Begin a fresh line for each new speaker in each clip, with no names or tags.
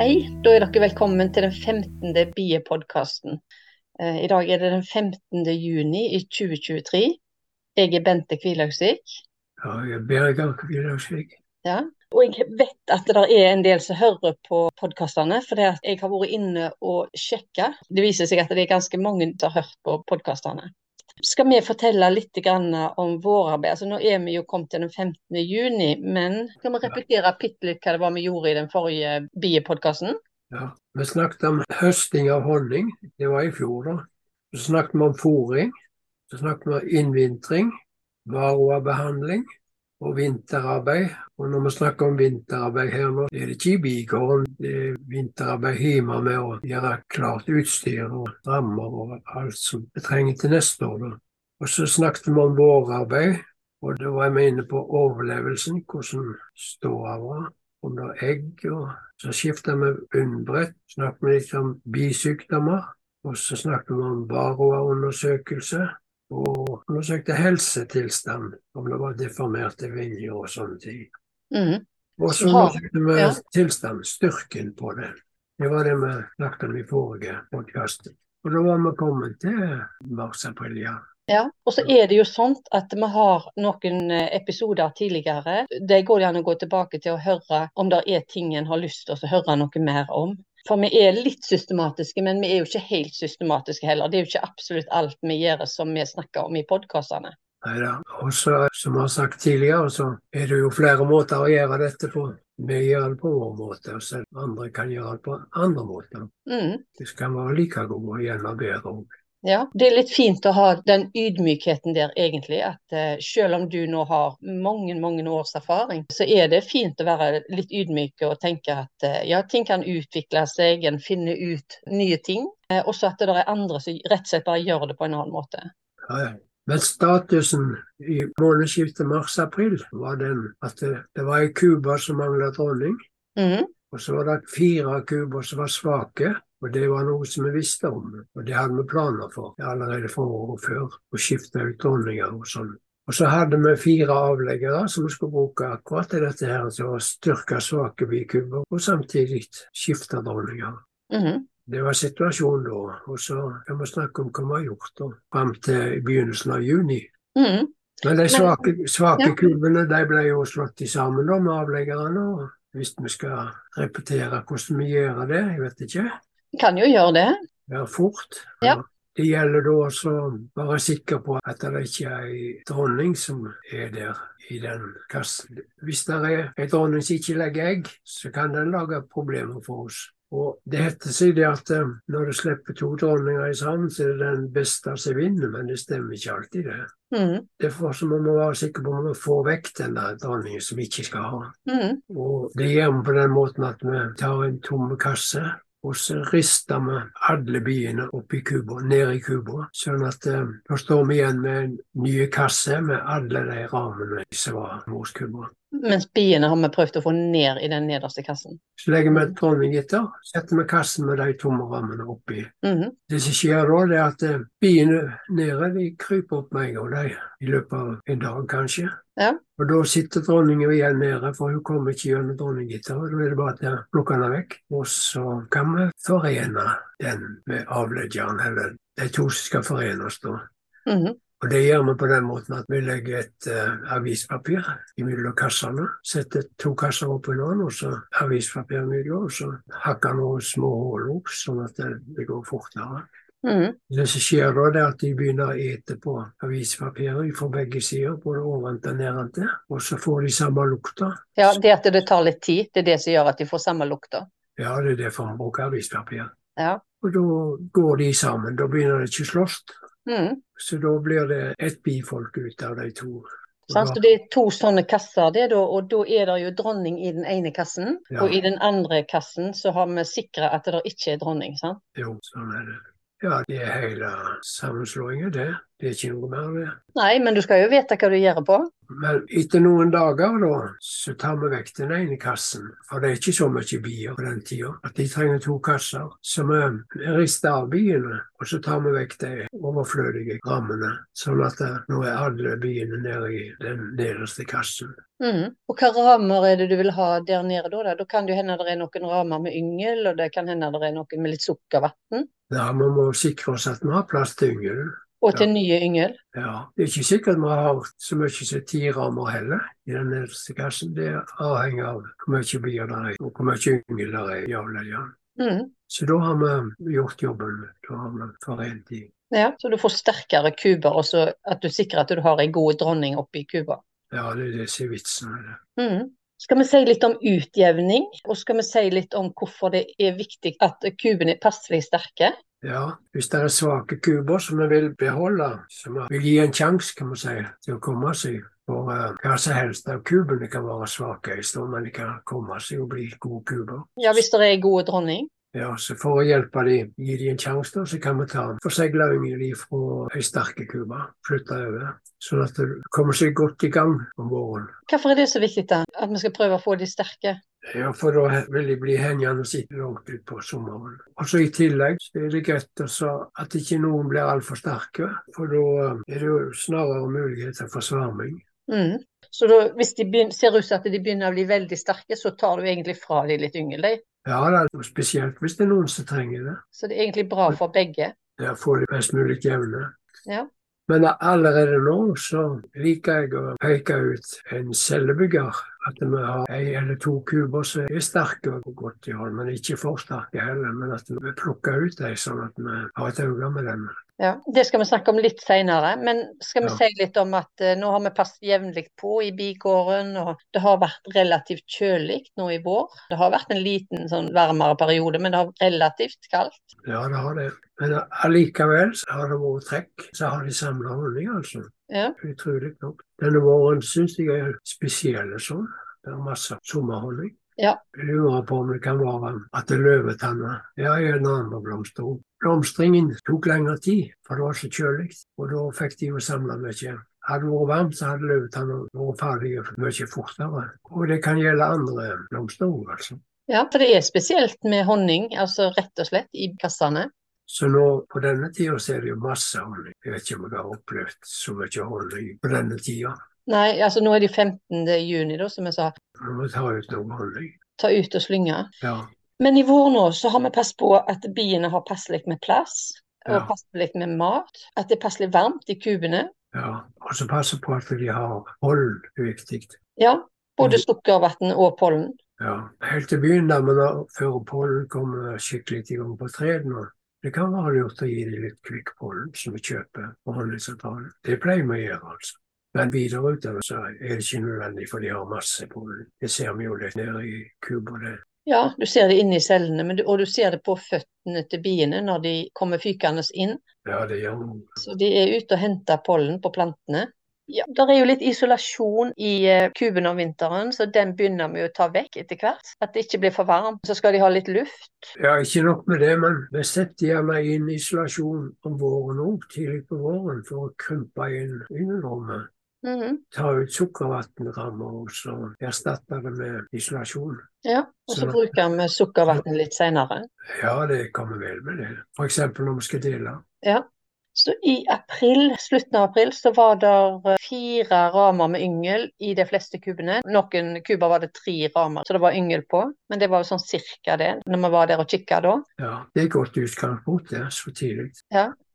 Da er dere velkommen til den 15. BIE-podkasten. I dag er det den 15. juni i 2023. Jeg er Bente Kvilhagsvik.
Ja, jeg er Berger Kvilhagsvik.
Ja. Og jeg vet at det er en del som hører på podkastene, for jeg har vært inne og sjekka. Det viser seg at det er ganske mange som har hørt på podkastene. Skal vi fortelle litt om vårarbeid? Altså, nå er vi jo kommet til den 15. juni, men skal vi repetere bitte litt hva det var vi gjorde i den forrige BIE-podkasten?
Ja, Vi snakket om høsting av honning, det var i fjor. da. Så snakket vi om fòring. Så snakket vi om innvintring, varroabehandling og vinterarbeid. Og når vi snakker om vinterarbeid her nå, er det ikke bigården. Det er vinterarbeid hjemme med å gjøre klart utstyr og rammer og alt som vi trenger til neste år. da. Og så snakket vi om vårarbeid, og da var vi inne på overlevelsen, hvordan ståa var om det er egg. og Så skifta vi bunnbrett, snakket vi litt om bisykdommer. Og så snakket vi om varroaundersøkelse. Og undersøkte helsetilstand, om det var deformerte vinger og sånne ting.
Mhm.
Og så
Ja.
undersøkte vi
Ja.
tilstand, styrken på det. Det var det vi snakket om i forrige podkast. Og da var vi kommet til mars-april, ja.
Ja, og så er det jo sånt at vi har noen eh, episoder tidligere. Det går det an å gå tilbake til å høre om det er ting en har lyst til å høre noe mer om. For vi er litt systematiske, men vi er jo ikke helt systematiske heller. Det er jo ikke absolutt alt vi gjør som vi snakker om i podkastene.
Neida. Og så, som jeg har sagt tidligere, så er det jo flere måter å gjøre dette på. Vi gjør det på vår måte, og så andre kan gjøre det på andre måter.
Mm.
Det skal være like gode og gjerne bedre òg.
Ja, det er litt fint å ha den ydmykheten der, egentlig. At eh, selv om du nå har mange, mange års erfaring, så er det fint å være litt ydmyk og tenke at eh, ja, ting kan utvikle seg, en finner ut nye ting. Eh, også at det er andre som rett og slett bare gjør det på en annen måte.
Ja, ja. Men statusen i månedsskiftet mars-april var den at det, det var ei kube som manglet dronning,
Mhm,
og så var det fire kuber som var svake. Og det var noe som vi visste om, og det hadde vi planer for allerede for året før. Å skifte ut dronninger og sånn. Og så hadde vi fire avleggere som vi skulle bruke akkurat til dette her, til å styrke svake bikuber, og samtidig skifte dronninger.
mhm.
Det var situasjonen da. Og så kan vi snakke om hva vi har gjort da, fram til i begynnelsen av juni.
mhm.
Men de svake, svake
Ja.
kubene de ble jo slått i sammen da, med avleggerne. og Hvis vi skal repetere hvordan vi gjør det, jeg vet ikke.
Kan jo gjøre det.
Være fort.
Ja.
Det gjelder da også å være sikker på at det ikke er ei dronning som er der i den kassen. Hvis det er ei dronning som ikke legger egg, så kan den lage problemer for oss. Og det heter seg det at eh, når du slipper to dronninger i sammen, så er det den beste som vinner, men det stemmer ikke alltid, det.
Mhm,
Derfor så må vi være sikre på at vi får vekk den der dronningen som vi ikke skal ha.
mhm.
Og det gjør vi på den måten at vi tar en tom kasse, og så rister vi alle biene opp i kuba, ned i kuba. Sånn at eh, da står vi igjen med en ny kasse med alle de ramene som var morskuba.
Mens biene har vi prøvd å få ned i den nederste kassen.
Så legger vi et dronninggitter, setter vi kassen med de tomme rammene oppi.
Mhm,
Det som skjer da, det er at eh, biene nede de kryper opp med en gang de, i løpet av en dag, kanskje.
Ja.
Og da sitter dronningen igjen nede, for hun kommer ikke gjennom dronninggitteret. Da er det bare til å plukke den vekk. Og så kan vi forene den med avleggeren, eller de to som skal forenes da.
mhm.
Og det gjør vi på den måten at vi legger et eh, avispapir imellom kassene. Setter to kasser oppå hverandre, og så avispapir imellom. Og så hakker noen små hull opp, sånn at det, det går fortere.
mhm.
Det som skjer da, det er at de begynner å ete på avispapiret fra begge sider, både ovente og nedente. Og så får de samme lukta.
Ja, det at det tar litt tid, det er det som gjør at de får samme lukta.
Ja, det er derfor man bruker avispapir.
Ja.
Og da går de sammen. Da begynner det ikke å slåss.
Mhm.
Så da blir det et bifolk ut av de to. Og
Sant?
da-
Så det er to sånne kasser, det da, og da er det jo dronning i den ene kassen.
Ja.
Og i den andre kassen så har vi sikra at det ikke er dronning. sant?
Jo, sånn er det. Ja, det er hele sammenslåingen, det. Det er ikke noe mer, det.
Nei, men du skal jo vite hva du gjør på.
Men etter noen dager da, så tar vi vekk den ene kassen. For det er ikke så mye bier på den tida at de trenger to kasser. Så vi rister av biene, og så tar vi vekk de overflødige rammene. Sånn at det, nå er alle biene nede i den nederste kassen.
Mm. Og hva ramer er det du vil ha der nede da? Da, da kan det jo hende det er noen ramer med yngel, og det kan hende det er noen med litt sukkervann.
Ja, vi må sikre oss at vi har plass til yngel.
Og til nye yngel.
Ja, Det er ikke sikkert vi har så mye som ti rammer heller i den nederste kassen. Det avhenger av hvor mye bier der er, og hvor mye yngel der er i avleggeren.
Mm.
Så da har vi gjort jobben. Da har vi forent de.
Ja, så du får sterkere kuber, og så at du sikrer at du har ei god dronning oppi kuba.
Ja, det er det som er vitsen med det.
Mm. Skal vi si litt om utjevning, og skal vi si litt om hvorfor det er viktig at kubene er passelig sterke?
Ja, hvis det er svake kuber som vi vil beholde, som vi vil gi en sjanse, kan vi si, til å komme seg. For eh, hva som helst av kubene kan være svake en stund, men de kan komme seg og bli gode kuber.
Ja, hvis det er ei god dronning.
Ja, så for å hjelpe dem, gi dem en sjanse, da, så kan vi ta forsegle yngel fra ei sterke kube, flytte over, sånn at det kommer seg godt i gang om våren.
Hvorfor er det så viktig da, at vi skal prøve å få de sterke?
Ja, for da he- vil de bli hengende og sitte langt ut på sommeren. Og så I tillegg så er det greit også at ikke noen blir altfor sterke, for da eh, er det jo snarere muligheter for sverming.
Mm. Så da, hvis de begyn- ser ut som at de begynner å bli veldig sterke, så tar du egentlig fra de litt yngel, de.
Ja, det er noe spesielt hvis det er noen som trenger det.
Så det er egentlig bra for begge.
Der får de mest mulig jevne.
Ja.
Men allerede nå så liker jeg å peke ut en cellebygger. At vi har ei eller to kuber som er sterke og godt i hånd, men ikke for sterke heller. Men at vi plukker ut dem, sånn at vi har et øye med dem.
Ja, Det skal vi snakke om litt senere, men skal vi
Ja.
si litt om at eh, nå har vi passet jevnlig på i bigården, og det har vært relativt kjølig nå i vår. Det har vært en liten sånn varmere periode, men det har vært relativt kaldt.
Ja, det har det. Men allikevel så har det vært trekk. Så har de samla honning, altså.
Ja.
Utrolig nok. Denne våren syns jeg er spesiell sånn. Det er masse sommerhonning.
Ja.
Jeg lurer på om det kan være at det er løvetanner. Ja, jeg er en annen blomster også. Blomstringen tok lengre tid, for det var så kjølig. Og da fikk de jo samla mye. Hadde det vært varmt, så hadde løvetanner vært ferdige mye fortere. Og det kan gjelde andre blomster òg, altså.
Ja, for det er spesielt med honning, altså rett og slett, i kassene.
Så nå på denne tida så er det jo masse honning. Jeg vet ikke om jeg har opplevd så mye honning på denne tida.
Nei, altså nå er det 15. juni, da, som jeg sa.
Nå må vi ta ut noe honning.
Ta ut og slynge.
Ja,
Men i vår nå så har vi passet på at biene har passelig med plass, og
Ja.
passelig med mat. At det er passelig varmt i kubene.
ja. Og så passe på at de har pollen, det er viktig.
Ja, både
Mhm.
sukkervann og pollen.
Ja. Helt til byen der, men da- før pollen kommer skikkelig i gang på trærne. Det kan være lurt å gi dem litt kvikkpollen som vi kjøper på honningsentralen. Det pleier vi å gjøre, altså. Men videre utover så er det ikke nødvendig, for de har masse pollen. Det ser vi jo litt nede i kubene.
Ja, du ser det inne i cellene, men du, og du ser det på føttene til biene når de kommer fykende inn.
Ja, det gjør noe.
Så de er ute og henter pollen på plantene. Ja, Det er jo litt isolasjon i eh, kuben om vinteren, så den begynner vi å ta vekk etter hvert. At det ikke blir for varmt. Så skal de ha litt luft.
Ja, ikke nok med det, men vi setter gjerne inn isolasjon om våren òg, tidlig på våren, for å krympe inn innrommet.
Mhm,
Ta ut sukkervannrammer og så erstatte det med isolasjon.
ja. Og så
Så-
bruker vi sukkervann litt senere.
Ja, det kommer vel med det. F.eks. når vi skal dele.
Så i april, slutten av april, så var det fire ramer med yngel i de fleste kubene. Noen kuber var det tre ramer, så det var yngel på. Men det var jo sånn cirka det, når vi var der og kikka da.
Ja, det er godt utgangspunkt, det, så tidlig.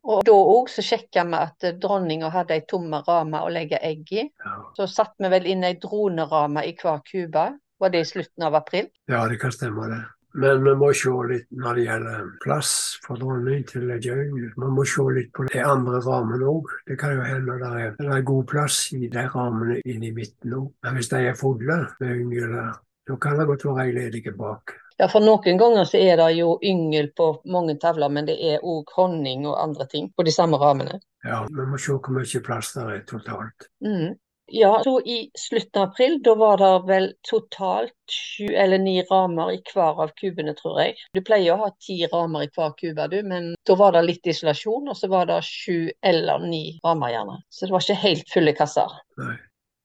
Og da òg så sjekka vi at eh, dronninga hadde ei tomme rame å legge egg i.
Ja,
Så satte vi vel inn ei dronerame i hver kube. Var det i slutten av april?
ja det kan stemme, det. Men vi må se litt når det gjelder plass for dronning til å legge øynene. Vi må se litt på de andre rammene òg. Det kan jo hende det er, det er god plass i de rammene inne i midten òg. Men hvis de er fulle med yngel der, da kan det godt være ei ledige bak.
Ja, for noen ganger så er det jo yngel på mange tavler, men det er òg honning og andre ting på de samme ramene.
Ja, Vi må se hvor mye plass det er totalt.
Mhm. Ja, så i slutten av april, da var det vel totalt sju eller ni ramer i hver av kubene, tror jeg. Du pleier å ha ti ramer i hver kube, du, men da var det litt isolasjon, og så var det sju eller ni ramer, gjerne. Så det var ikke helt fulle kasser.
Nei.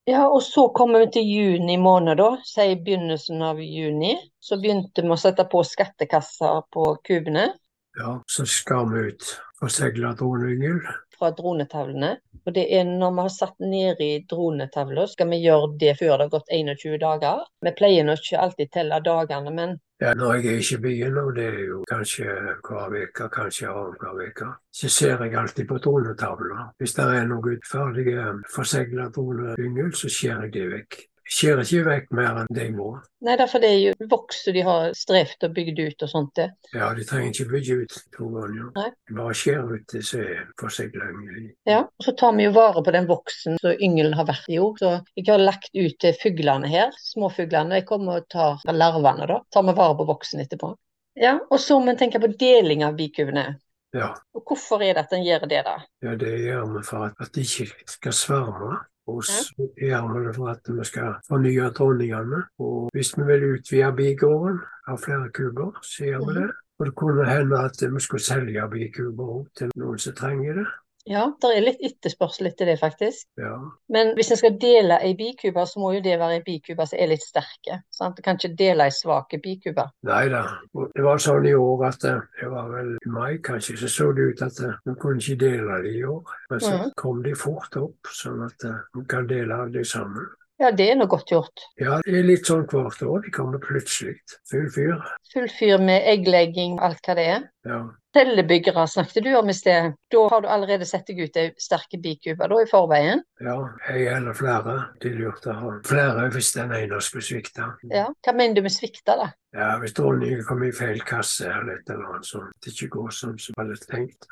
Ja, og så kommer vi til juni måned, da. Si i begynnelsen av juni. Så begynte vi å sette på skattekasser på kubene
Ja, så skar vi ut og seila droneyngel.
fra dronetavlene. Og det er når vi har satt nede i dronetavla, skal vi gjøre det før det har gått 21 dager. Vi pleier nå ikke alltid telle dagene, men
Ja, når jeg er ikke i byen, og det er jo kanskje hver uke, kanskje annenhver uke, så ser jeg alltid på dronetavla. Hvis det er noe utferdige forsegla droneyngel, så skjærer jeg det vekk. Jeg Skjærer ikke vekk mer enn det jeg må.
Nei, derfor det er jo voks som de har strevd og bygd ut og sånt. det.
Ja, de trenger ikke bygge ut to ganger.
Nei.
Bare skjær ut det som er forsegla yngel.
Ja, og Så tar vi jo vare på den voksen som yngelen har vært i òg. Så jeg har lagt ut til fuglene her, småfuglene. Jeg kommer og tar larvene, da. Tar vi vare på voksen etterpå. Ja, Og så må en tenke på deling av bikubene.
Ja.
Og hvorfor er det at en gjør det, da?
Ja, det gjør vi for at, at de ikke skal sverme. Og så gjør vi det for at vi skal fornye dronningene. Og hvis vi vil utvide bigården av flere kuber, så gjør vi det. Og det kunne hende at vi skulle selge bikuber også til noen som trenger det.
Ja, det er litt etterspørsel etter det, faktisk.
Ja,
Men hvis en skal dele ei bikube, så må jo det være ei bikube som er litt sterke. sant? Du kan ikke dele ei svak bikube.
Nei da. Og Det var sånn i år at eh, det var vel i mai kanskje, så så det ut at eh, vi kunne ikke dele det i år. Men så
Mhm.
kom de fort opp, sånn at eh, vi kan dele av det sammen.
Ja, det er nå godt gjort.
Ja, det er litt sånn hvert år. De kommer plutselig. Full fyr.
Full fyr med egglegging, alt hva det er.
Ja.
Cellebyggere snakket du om i sted. Da har du allerede sett deg ut ei sterke bikube da i forveien.
Ja, ei eller flere. Det er lurt å ha flere hvis den ene skulle svikte.
Ja. Hva mener du med svikta, da?
Ja, hvis dronningen kom i feil kasse eller et eller annet sånt, det ikke går sånn som alle tenkt.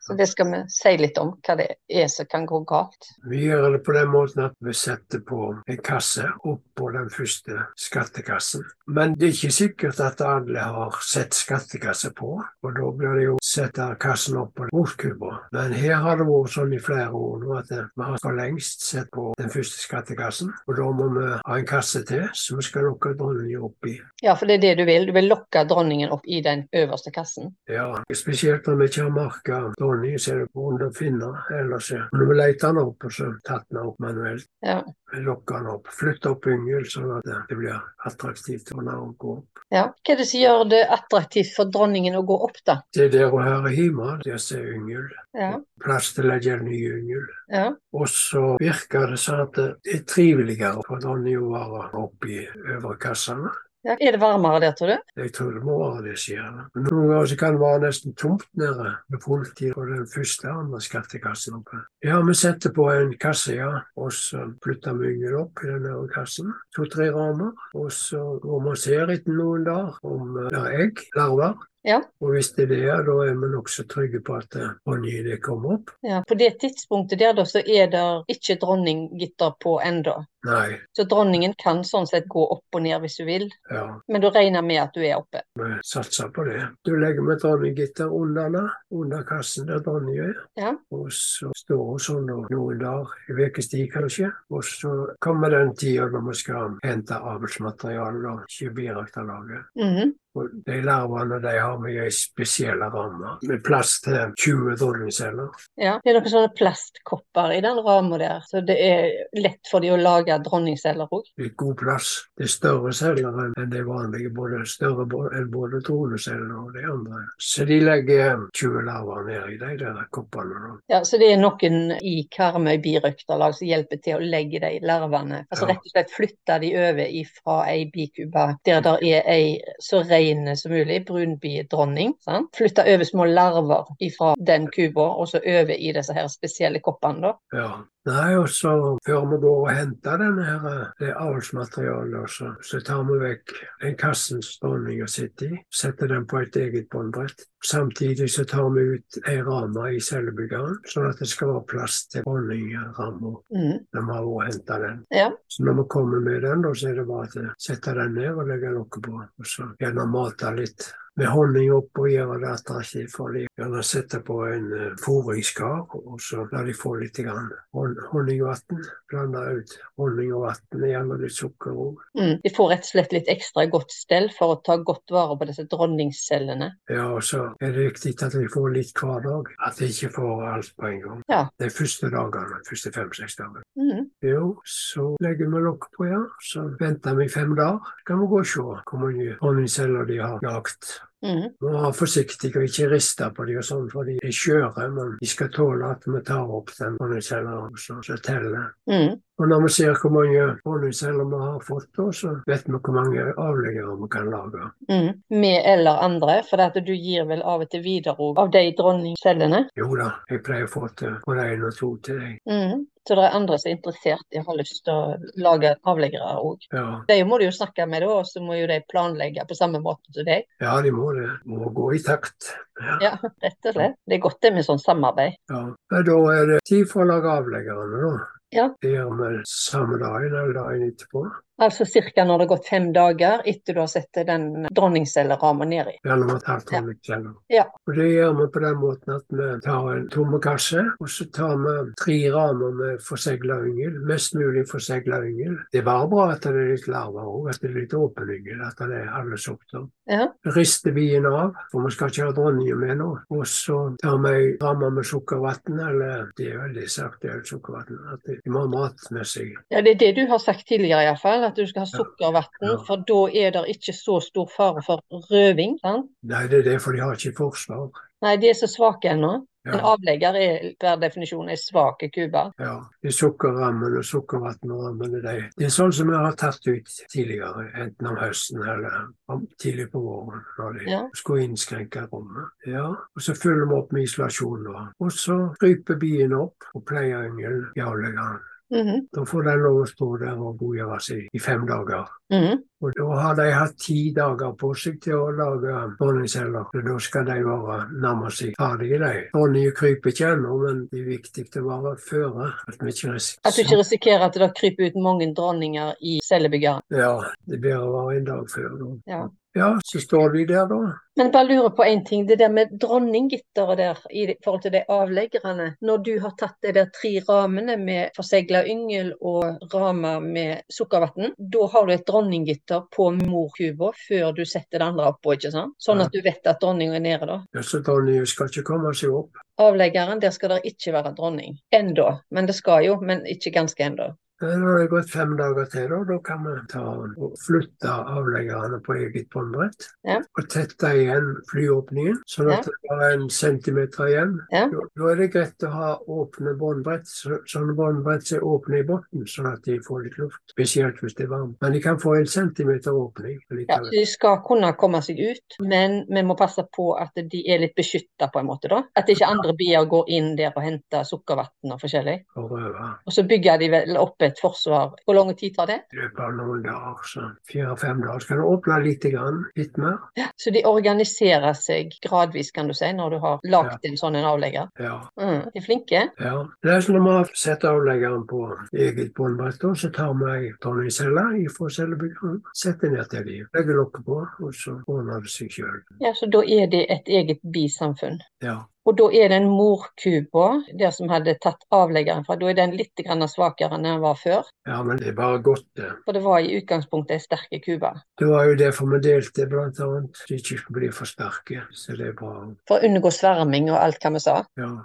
Så Det skal vi si litt om, hva det er som kan gå galt.
Vi gjør det på den måten at vi setter på en kasse oppå den første skattekassen. Men det er ikke sikkert at alle har sett skattekasse på, og da blir det jo sette kassen opp på bordkuba. Men her har det vært sånn i flere år nå at vi har for lengst sett på den første skattekassen, og da må vi ha en kasse til som vi skal lukke dronningen opp i.
Ja, for det er det du vil. Du vil lokke dronningen opp i den øverste kassen.
Ja, spesielt når vi ikke har merka dronningen, så er det vondt å finne. Ellers er- når vi leter den opp, og så tatt den opp manuelt.
Ja.
Vi Lokker den opp. Flytter opp yngel, sånn at det blir attraktivt for henne å gå opp.
Ja. Hva er det som gjør det attraktivt for dronningen å gå opp, da?
Det er der hun hører hjemme, der som er yngel.
Ja.
Plass til å legge en ny yngel.
ja.
Og så virker det sånn at det er triveligere for dronningen å være oppe i øvre kassene.
ja. Er det varmere der, tror du?
Jeg tror det må være det, sier han. Noen ganger så kan det være nesten tomt nede med politiet på den første og andre skattekassen oppe. Ja, vi setter på en kasse, ja, og så flytter vi yngel opp i den øvre kassen. To-tre ramer, og så går vi og ser etter noen dager om eh, det er egg, larver.
Ja.
Og hvis det er det, ja, da er vi nokså trygge på at eh, honningen er kommet opp.
Ja. På det tidspunktet der, da, så er det ikke dronninggitter på ennå.
Nei,
Så dronningen kan sånn sett gå opp og ned hvis hun vil,
ja,
men da regner jeg med at du er oppe.
vi satser på det. Da legger vi dronninggitter under den, under kassen der dronningen er.
Ja.
Og så står hun sånn nå- noen dager, en ukes tid kanskje. Og så kommer den tida når vi skal hente avlsmateriale, da, ikke birakterlaget.
Mhm.
Og de larvene de har vi i ei spesiell ramme, med plass til 20 dronningceller.
Ja, det er noen sånne plastkopper i den rammen der, så det er lett for de å lage dronningceller òg.
Litt god plass. Det er større celler enn- enn de vanlige, både større bo- enn både droneceller og de andre. Så de legger 20 larver ned i de der koppene. da.
Ja, så det er noen i Karmøy birøkterlag som hjelper til å legge de larvene. Altså
Ja.
rett og slett flytte de over ifra ei bikube der det er ei så rein som mulig, brunbiedronning. sant? Flytte over små larver ifra den kuba og så over i disse her spesielle koppene, da.
Ja. Nei, og så før vi går og henter denne her, eh, det avlsmaterialet, og så, så tar vi vekk den kassen som dronninga sitter i, setter den på et eget båndbrett. Samtidig så tar vi ut ei ramme i cellebyggeren, sånn at det skal være plass til dronningeramma
Mm.
når vi har henta den.
Ja.
Så når vi kommer med den, da, så er det bare å sette den ned og legge lokket på, og så gjerne mate litt. med honning opp og gjøre det attraktivt for dem. Gjerne sette på en eh, fôringskar, og så la de få litt grann hon honning og vann. Blande ut honning og vann, gjerne litt sukker òg.
Mm. De får rett og slett litt ekstra godt stell for å ta godt vare på disse dronningcellene.
Ja, og så er det viktig at de får litt hver dag. At de ikke får alt på en gang.
Ja.
De første dagene, første fem-seks dagene.
Mm.
Jo, så legger vi lokk på, ja. Så venter vi fem dager. Så kan vi gå og se hvor mange honningceller de har lagd.
Mm.
Vi må være forsiktige og ikke riste på dem og sånn, for de er skjøre. Men de skal tåle at vi tar opp den honningcellen og så, så teller.
Mm.
Og når vi ser hvor mange honningceller vi har fått, da, så vet vi hvor mange avleggere vi kan lage.
Mm. Med eller andre, for at du gir vel av og til videre også av de dronningcellene.
Jo da, jeg pleier å få til både én og to til deg.
Mm. Så det er andre som er interessert i å ha lyst til å lage avleggere òg.
Ja.
De må du jo snakke med, da, og så må jo de planlegge på samme måte som deg.
ja, de må det. Må gå i takt.
Ja, rett og slett. Det er godt det med sånn samarbeid.
Ja, men da er det tid for å lage avleggerne, da.
Ja.
Det gjør vi samme dagen eller dagen etterpå.
Altså ca. når det har gått fem dager etter du har satt den dronningcellerama nedi.
Gjerne med et halvt tonn kjellom.
Ja.
Og det gjør vi på den måten at vi tar en tomme kasse, og så tar vi tre ramer med forsegla yngel. Mest mulig forsegla yngel. Det er bare bra at det er litt larver òg, at det er litt åpen yngel, at det er alle sorter.
Ja.
rister bien av, for vi skal ikke ha dronningen med nå. Og så tar vi ei ramme med sukkervann, eller det er veldig sagt, det er sukkervann. At de må ha matmessig
Ja, Det er det du har sagt tidligere, iallfall. At du skal ha
Ja.
sukkervann, for da er det ikke så stor fare for røving. sant?
Nei, det er det, for de har ikke forsvar.
Nei, de er så svake ennå. En
Ja,
avlegger er per definisjon en svak kube.
ja. De sukkerrammene og sukkervannrammene, de. Det er sånn som vi har tatt ut tidligere, enten om høsten eller om tidlig på våren, når de
Ja.
skulle innskrenke rommet. Ja, og så fyller vi opp med isolasjon da. Og så kryper bien opp og pleier yngelen i avleggeren.
Mhm,
Da får den lov å stå der og godgjøre seg i fem dager.
mhm.
Og da har de hatt ti dager på seg til å lage donningceller. Da skal de være nærmest ferdige, de. Dronningen kryper ikke ennå, men det er viktig å være føre. At vi ikke
At du ikke
risikerer
risikerer at det kryper ut mange dronninger i cellebyggeren.
Ja, det er bedre å være en dag før. Da.
Ja.
ja, så står de der, da.
Men bare lurer på en ting. Det der med dronninggitteret der i forhold til de avleggerne. Når du har tatt de der tre ramene med forsegla yngel og ramer med sukkervann, da har du et dronninggitter på morkuba før du setter det andre oppå, ikke sant? Sånn
Ja.
at du vet at dronninga er nede da.
Ja, så dronningen skal ikke komme seg opp.
Avleggeren, der skal det ikke være dronning. Enda. Men det skal jo, men ikke ganske enda.
Men Når det har gått fem dager til, da, da kan vi ta og flytte avleggerne på eget båndbrett.
Ja.
Og tette igjen flyåpningen, sånn at det bare er en centimeter igjen.
Ja.
Da da er det greit å ha åpne båndbrett, så- sånne båndbrett som er åpne i bunnen, sånn at de får litt luft. Spesielt hvis det er varmt. Men de kan få en centimeter åpning. litt
Ja,
av-
de skal kunne komme seg ut, men vi må passe på at de er litt beskytta, på en måte. da. At ikke andre bier går inn der og henter sukkervann og forskjellig.
for røver.
Og så bygger de vel opp et forsvar. Hvor lang tid tar det?
I løpet av noen dager, så fire-fem dager, skal du åpne litt, grann, litt mer.
Så de organiserer seg gradvis, kan du si, når du har lagd en sånn en avlegger.
Ja.
Mm, de er flinke.
Ja. Det er sånn som når vi har satt avleggeren på eget båndbrett, da, så tar vi ei dronningcelle fra cellebyggeren, setter ned til dem, legger lokket på, og så ordner det seg sjøl.
Ja, Så da er de et eget bisamfunn.
Ja.
Og da er den morkuba, der som hadde tatt avleggeren fra, da er den litt grann svakere enn den var før.
ja, men det er bare godt, det.
For det var i utgangspunktet ei sterk kube.
Det var jo derfor vi delte, blant annet. De ikke skulle bli for sterke, så det er bra.
For å unngå sverming og alt hva vi sa.
Ja.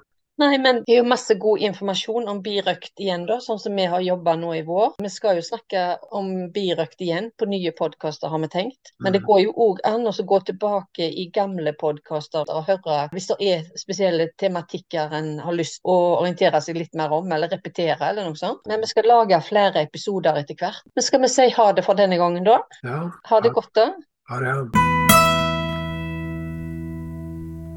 Nei, men det er jo masse god informasjon om birøkt igjen, da, sånn som vi har jobba nå i vår. Vi skal jo snakke om birøkt igjen på nye podkaster, har vi tenkt. Men det
Mhm.
går jo òg an å så gå tilbake i gamle podkaster og høre hvis det er spesielle tematikker en har lyst å orientere seg litt mer om, eller repetere, eller noe sånt. Men vi skal lage flere episoder etter hvert. Men skal vi si ha det for denne gangen, da?
ja.
Ha det
Ja.
godt, da.
Ha det.